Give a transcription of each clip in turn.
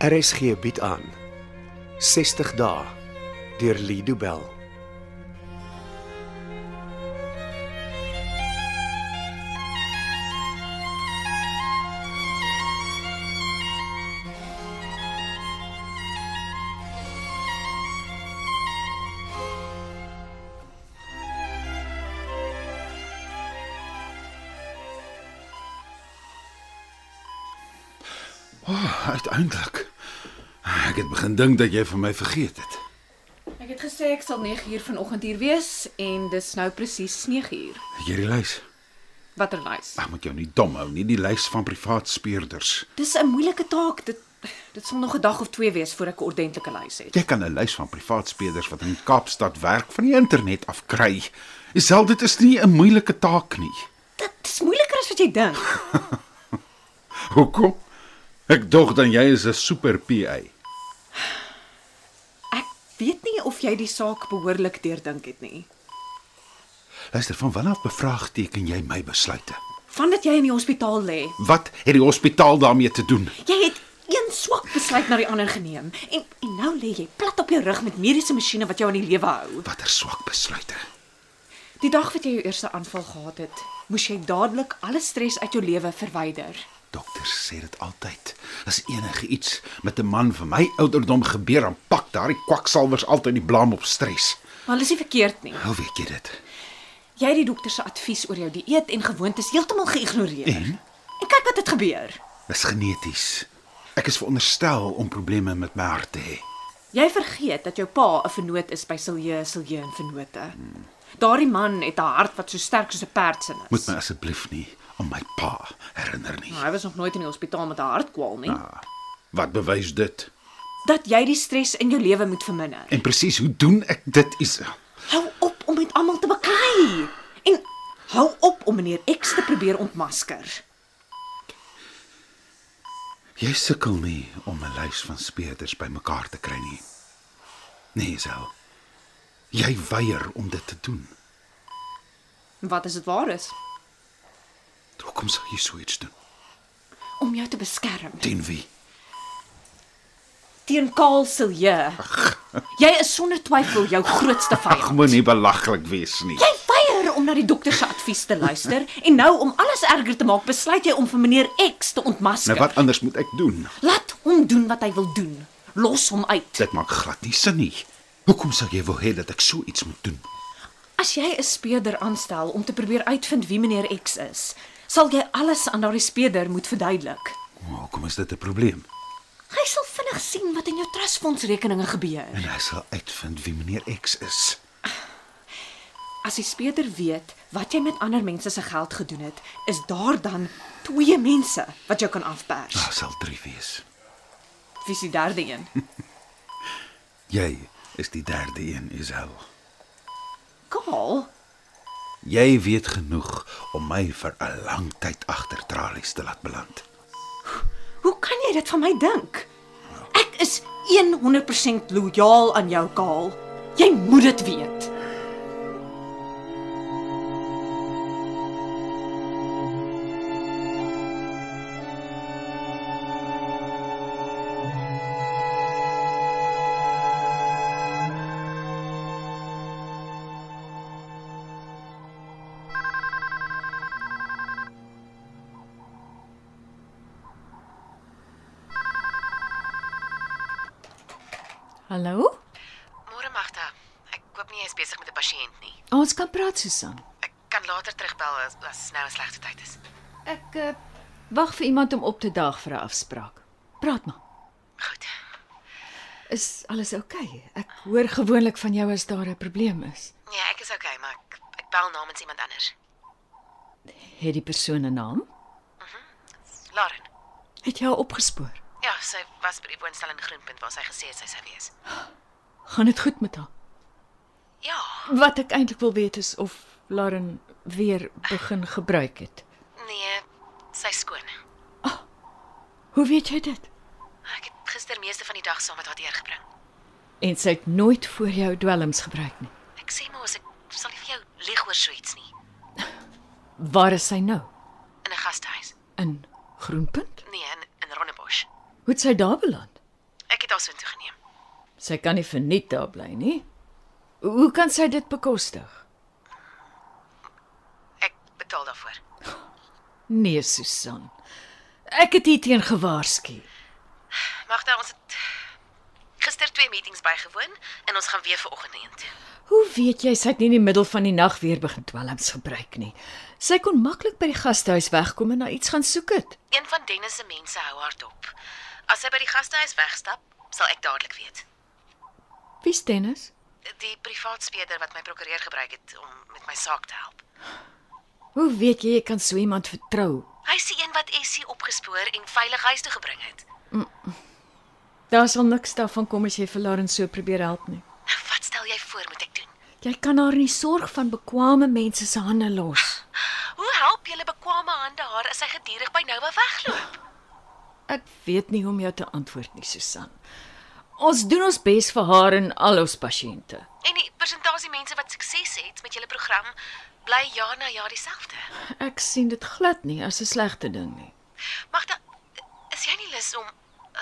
RSG bied aan 60 dae deur Lido Bell. Oh, uiteindelik. Ah, Ek het begin dink dat jy van my vergeet het. Ek het gesê ek sal 9uur vanoggend hier wees en dis nou presies 9uur. Het Jy die lys. Watter lys? Ek moet jou nie dom hou nie, die lys van privaat speurders. Dis 'n moeilike taak. Dit dit sal nog 'n dag of 2 wees voor ek 'n ordentlike lys het. Jy kan 'n lys van privaat speurders wat in Kaapstad werk van die internet af kry. Selfs dit is nie 'n moeilike taak nie. Dit is moeiliker as wat jy dink. Hoekom? Ek dog dan jy is 'n super PA. Ek weet nie of jy die saak behoorlik deurdink het nie. Luister, van wanneer af bevraagteken jy my besluite? Vandat jy in die hospitaal lê, Wat het die hospitaal daarmee te doen? jy het een swak besluit na die ander geneem en en nou lê jy plat op jou rug met mediese masjiene wat jou aan die lewe hou. Watter swak besluite? Die dag wat jy jou eerste aanval gehad het, moes jy dadelik alle stres uit jou lewe verwyder. Dokters sê dit altyd. As enige iets met 'n man van my ouderdom gebeur, dan pak daardie kwaksalvers altyd die blame op stres. Maar hulle is nie verkeerd nie. Hoe weet jy dit? Jy het die dokter se advies oor jou dieet en gewoontes heeltemal geïgnoreer. En? en kyk wat het gebeur. Dis geneties. Ek is veronderstel om probleme met my hart te hê. Jy vergeet dat jou pa 'n vernoot is by Silje, Silje en Vernote. Daardie man het 'n hart wat so sterk soos 'n perd se is. Moet my asseblief nie aan my pa herinner nie. Nou, hy was nog nooit in die hospitaal met 'n hartkwaal nie. Ah, wat bewys dit? Dat jy die stres in jou lewe moet verminder. En presies hoe doen ek dit, Isa? Hou op om met almal te baklei. En hou op om meneer X te probeer ontmasker. Jy sukkel nie om 'n lys van speerders bymekaar te kry nie. Nee, Isa. Jy weier om dit te doen. Wat as dit waar is? Hoekom sou jy so iets doen? Om jou te beskerm Teen wie? teen Kaal Silje. Jy is sonder twyfel jou grootste vyand. Ag, moenie belaglik wees nie. Jy weier om na die dokter se advies te luister en nou om alles erger te maak, besluit jy om vir meneer X te ontmasker. Nou wat anders moet ek doen? Laat hom doen wat hy wil doen. Los hom uit. Dit maak glad nie sin nie. Hoekom sou jy wou hê dat ek so iets moet doen? As jy 'n speurder aanstel om te probeer uitvind wie meneer X is, sal jy alles aan daardie speurder moet verduidelik. Maar hoekom is dit 'n probleem? Hy sal vinnig sien wat in jou trustfondsrekeninge gebeur. En hy sal uitvind wie meneer X is. As die speurder weet wat jy met ander mense se geld gedoen het, is daar dan twee mense wat jou kan afpers. Daar sal 3 wees. Wie is die derde een? Jy is die derde een, Isel. Kaal. Jy weet genoeg om my vir 'n lang tyd agter tralies te laat beland. Hoe kan jy dit van my dink? Ek is 100% lojaal aan jou, Kaal. Jy moet dit weet. Hallo? Môre Magda. Ek koop nie jy's besig met 'n pasiënt nie. Ons kan praat, Susan. Ek kan later terugbel as, as nou 'n slegte tyd is. Ek uh, wag vir iemand om op te daag vir 'n afspraak. Praat maar. Goed. Is alles oukei? Okay? Ek hoor gewoonlik van jou as daar 'n probleem is. Nee, ek is okay, maar ek, ek bel namens iemand anders. Het die persoon 'n naam? Lauren. Het jou opgespoor? Ja, sy was by die woonstel in Groenpunt waar sy gesê het sy sou wees. Gaan dit goed met haar? Ja. Wat ek eintlik wil weet is of Lauren weer begin gebruik het. Nee, sy skoon. Hoe weet jy dit? Ek het gister meeste van die dag saam met haar deurgebring. En sy het nooit voor jou dwelms gebruik nie. Ek sê mos ek sal nie vir jou lieg oor so iets nie Waar is sy nou? in 'n gastehuis. In Groenpunt? Nee, in in Rondebosch. Hoe het sy daar beland? Ek het haar soontoe geneem. Sy kan nie verniet daar bly nie. Hoe kan sy dit bekostig? Ek betaal daarvoor. Nee, Susan. Ek het hierteen gewaarsku. Magda, ons het gister twee meetings bygewoon en ons gaan weer vanoggend heen. Hoe weet jy sy het nie in die middel van die nag weer begin dwelms gebruik nie? Sy kon maklik by die gastehuis wegkom en na iets gaan soek het. Een van Dennis se mense hou haar dop. As hy by die gastehuis wegstap, sal ek dadelik weet. Wie's Dennis? Die privaat speeder wat my prokureur gebruik het om met my saak te help. Hoe weet jy jy kan so iemand vertrou? Hy is die een wat Essie opgespoor en veilig huis toe gebring het. Daar sal niks daarvan kom as jy vir Lauren so probeer help nie. Nou, wat stel jy voor moet ek doen? Jy kan haar in die sorg van bekwame mense se hande los. Hoe help julle bekwame hande haar as sy gedurig by Noua wegloop? Ek weet nie hoe om jou te antwoord nie, Susan. Ons doen ons bes vir haar en al ons pasiënte. En die persentasie mense wat sukses het met julle program bly jaar na jaar dieselfde. Ek sien dit glad nie as 'n slegte ding nie. Magda, is jy nie lus om eh,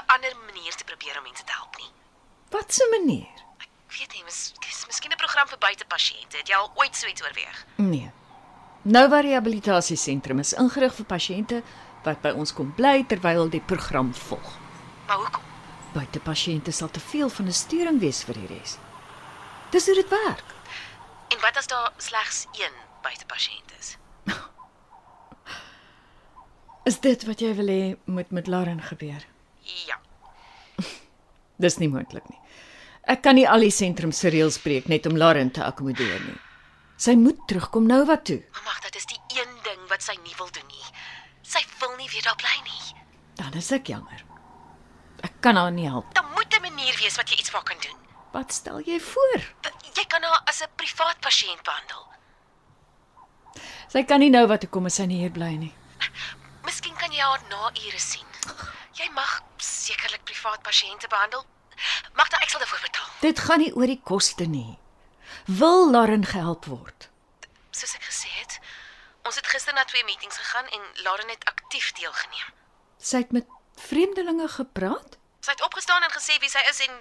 'n ander manier te probeer om mense te help nie? Wat 'n manier? Ek weet nie, mis, dis miskien 'n program vir buitepasiënte. Het jy al ooit so iets oorweeg? Nee. Nova Rehabilitasiesentrum is ingerig vir pasiënte wat by ons kom bly terwyl die program volg. Maar hoekom? Buitepasiënte sal te veel van 'n sturing wees vir die res. Dis hoe dit werk. En wat as daar slegs een buitepasiënt is? Is dit wat jy wil hê moet met Lauren gebeur? Ja. Dis nie moontlik nie. Ek kan nie al die sentrum se reëls breek net om Lauren te akkommodeer nie. Sy moet terugkom Nova toe. Maar Magda, dis die een ding wat sy nie wil doen nie. Sy wil nie weer daar bly nie. Dan is ek jammer. Ek kan haar nie help. Daar moet 'n manier wees wat jy iets vir haar kan doen. Wat stel jy voor? D- Jy kan haar as 'n privaat pasiënt behandel. Sy kan nie Nova toe kom as sy nie hier bly nie. Miskien kan jy haar na ure sien. Jy mag sekerlik privaat pasiënte behandel. Magda, ek sal daarvoor betaal. Dit gaan nie oor die koste nie. Wil Lauren gehelp word? Soos ek gesê het, ons het gister na twee meetings gegaan en Lauren het aktief deelgeneem. Sy het met vreemdelinge gepraat? Sy het opgestaan en gesê wie sy is en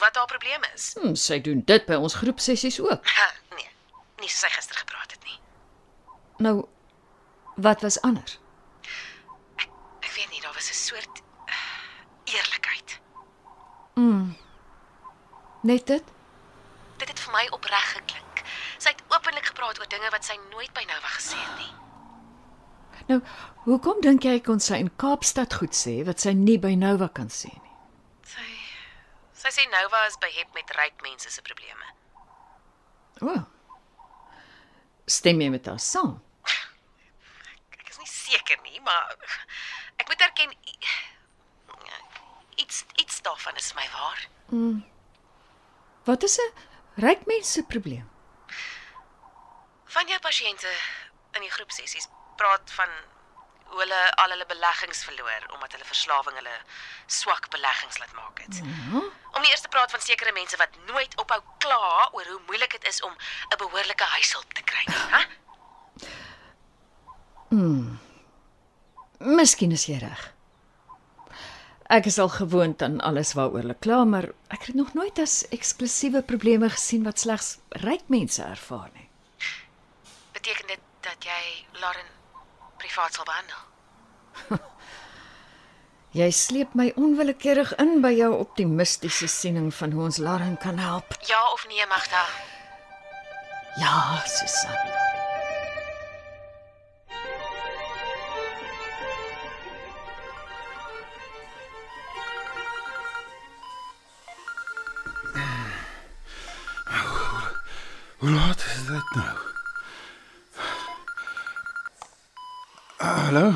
wat haar probleem is. Hm, sy doen dit by ons groepsessies ook. Ha, nee, nie soos sy gister gepraat het nie. Nou wat was anders? Ek weet nie, daar was 'n soort eh, eerlikheid. Net dit? Dit het vir my opreg geklink. Sy het openlik gepraat oor dinge wat sy nooit by Nova gesê het nie. Nou, hoekom dink jy kon sy in Kaapstad goed sê wat sy nie by Nova kan sê nie? Sy sy sê Nova is behep met ryk mense se probleme. O. Oh. Stem jy met haar saam? Ek is nie seker nie, maar ek moet erken i- iets iets daarvan is my waar. Wat is 'n ryk mens se probleem? Van jou pasiënte in die groepsessies praat van hoe hulle al hulle beleggings verloor omdat hulle verslawing hulle swak beleggings laat maak het. Hmm. Ja. Om eers te praat van sekere mense wat nooit ophou kla oor hoe moeilik dit is om 'n behoorlike huishulp te kry, hè? Miskien is jy reg. Ek is al gewoond aan alles waaroor hulle kla, maar ek het dit nog nooit as eksklusiewe probleme gesien wat slegs ryk mense ervaar nie. Beteken dit dat jy Lauren privaat sal behandel? Jy sleep my onwillekeurig in by jou optimistiese siening van hoe ons Lauren kan help. Ja of nee, Magda? Ja, Susan. Hoe laat is dit nou? Ah, Hallo.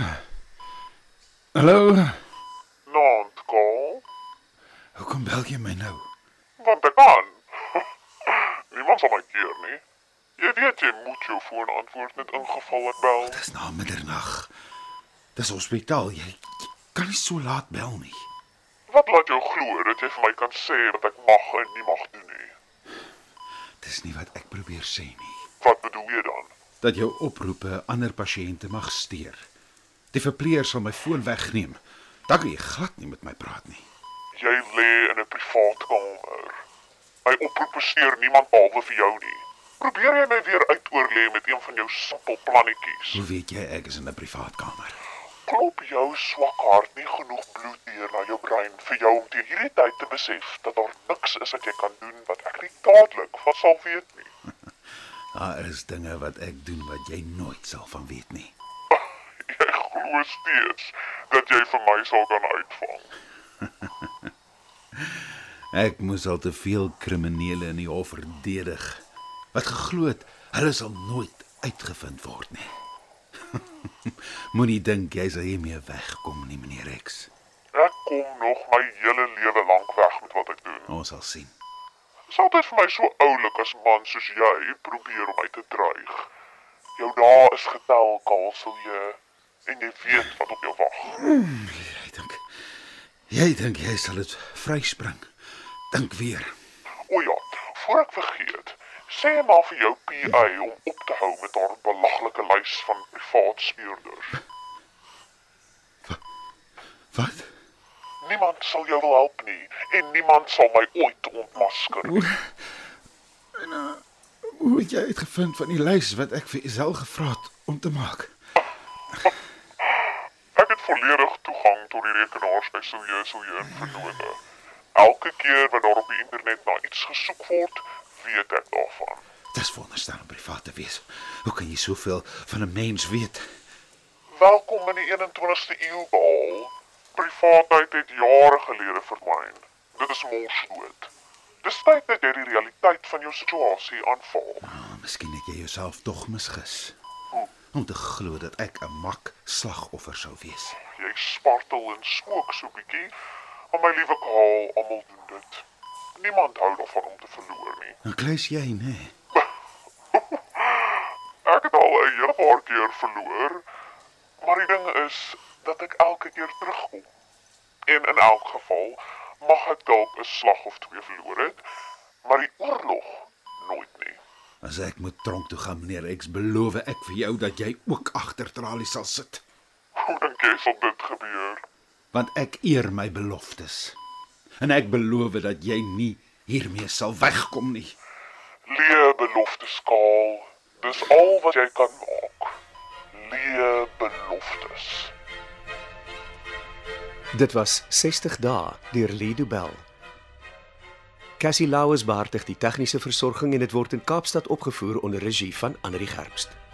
Hallo. Naand, Kaal, Hoekom bel jy my nou? want ek kan. Niemand sal my keer nie. Jy weet jy moet jou foon antwoord net ingeval ek bel. Dis na middernag. Dis hospitaal. Jy, jy kan nie so laat bel nie. Wat laat jou glo dat jy vir my kan sê wat ek mag en nie mag doen nie? Dis nie wat ek probeer sê nie. Wat bedoel jy dan? Dat jou oproepe ander pasiënte mag steur. Die verpleeër sal my foon wegneem. Dan kan jy glad nie met my praat nie. Jy lê in 'n privaat kamer. My oproepe steur niemand behalwe vir jou nie. Probeer jy my weer uitoor lê met een van jou simpel plannetjies? Hoe weet jy ek is in 'n privaat kamer? Klop jou swak hart nie genoeg bloed deur na jou brein vir jou om teen hierdie tyd te besef dat daar niks is wat jy kan doen wat ek nie dadelik van sal weet nie. Daar is dinge wat ek doen wat jy nooit sal van weet nie. Ah, Jy glo steeds dat jy vir my sal kan uitvang. Ek moes al te veel kriminele in die hof verdedig wat geglo het hulle sal nooit uitgevind word nie. Moenie dink jy sal hiermee wegkom nie, meneer Rex. Ek kom nog my hele lewe lank weg met wat ek doen. Ons sal sien. Dit is altyd vir my so oulik as 'n man soos jy probeer om my te dreig. Jou dae is getel, Kaalselje, en jy weet wat op jou wag. Jy dink jy dink jy sal dit vryspring. Dink weer. O ja, voor ek vergeet, sê maar vir jou PA om op te hou met haar belaglike lys van privaat speurders. Wat? Niemand sal jou wil help nie en niemand sal my ooit ontmasker nie. eh, Hoe het jy uitgevind van die lys wat ek vir Isel gevra het om te maak? Ek het volledig toegang tot die rekenaars by Silje Silje en Vernode. Elke keer wat daar op die internet na iets gesoek word, weet ek daarvan. Dis veronderstel om privaat te wees. Hoe kan jy soveel van 'n mens weet? Welkom in die 21ste eeu behaal. Privaatheid het jare gelede verdwyn. Dit is mos dood. Dis tyd dat jy die realiteit van jou situasie aanvaar. Oh, miskien het jy jouself tog misgis. Om te glo dat ek 'n mak slagoffer sou wees. Jy spartel en smook so bietjie. Maar my liewe Kaal, almal doen dit. Niemand hou daarvan om te verloor nie. Dan kluis jy, né? Ek het al 'n hele paar keer verloor, maar die ding is dat ek elke keer terugkom. En in elk geval mag ek dalk 'n slag of twee verloor het, maar die oorlog nooit nie. As ek moet tronk toe gaan, meneer X, beloof ek vir jou dat jy ook agter tralies sal sit, Hoe dink jy sal dit gebeur? want ek eer my beloftes. En ek beloof dat jy nie hiermee sal wegkom nie. Leë beloftes kaal. Dis al wat jy kan maak. Leë beloftes. Dit was 60 dae deur Lido Bell. Cassie Lauers beheer die tegniese versorging en dit word in Kaapstad opgevoer onder regie van Anri Gerbst.